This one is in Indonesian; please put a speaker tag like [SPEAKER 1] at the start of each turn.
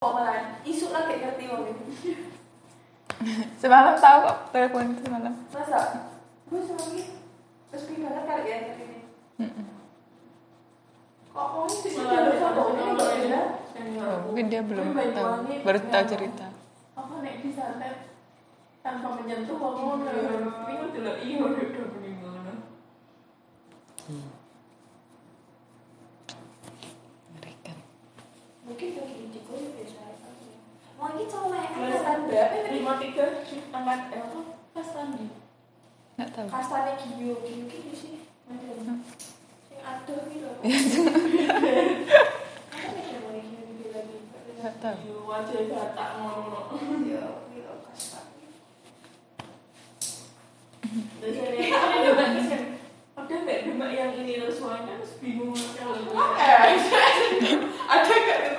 [SPEAKER 1] Pemeran. Isu lah kayak ngerti wong ini.
[SPEAKER 2] Semalam tahu kok telepon itu semalam.
[SPEAKER 1] Masa? Gue sama ini. Terus gue banget kali ya ngerti ini. Kok kok ini sih
[SPEAKER 3] Malah
[SPEAKER 1] ada
[SPEAKER 3] ada
[SPEAKER 1] fotonya
[SPEAKER 3] yang
[SPEAKER 1] kok
[SPEAKER 3] lain.
[SPEAKER 1] ya?
[SPEAKER 2] Oh, mungkin dia belum tahu.
[SPEAKER 3] Tapi Banyuwangi
[SPEAKER 2] Baru tahu
[SPEAKER 3] yang-
[SPEAKER 2] cerita.
[SPEAKER 3] Apa nek disantet tanpa menyentuh kok
[SPEAKER 1] Iya.
[SPEAKER 3] ngono ya. Ini kan delok iya udah beli ngono.
[SPEAKER 2] Mengerikan.
[SPEAKER 1] Mungkin lagi di gue biasa. Mau ini cowok angkatan berapa ini?
[SPEAKER 3] 53 angkat eh apa? Pas tadi.
[SPEAKER 2] Nggak tahu.
[SPEAKER 1] Kasarnya giyo giyo gitu sih. Ada. Yang ada gitu. Apa nih yang mau giyo giyo lagi?
[SPEAKER 2] Nggak tahu.
[SPEAKER 3] Iya, wajah batak ngono.
[SPEAKER 1] Giyo giyo kasar.
[SPEAKER 3] Terus ini ini juga kesen. Ada nggak demak yang ini terus soalnya terus bingung kalau
[SPEAKER 1] ya? Ada nggak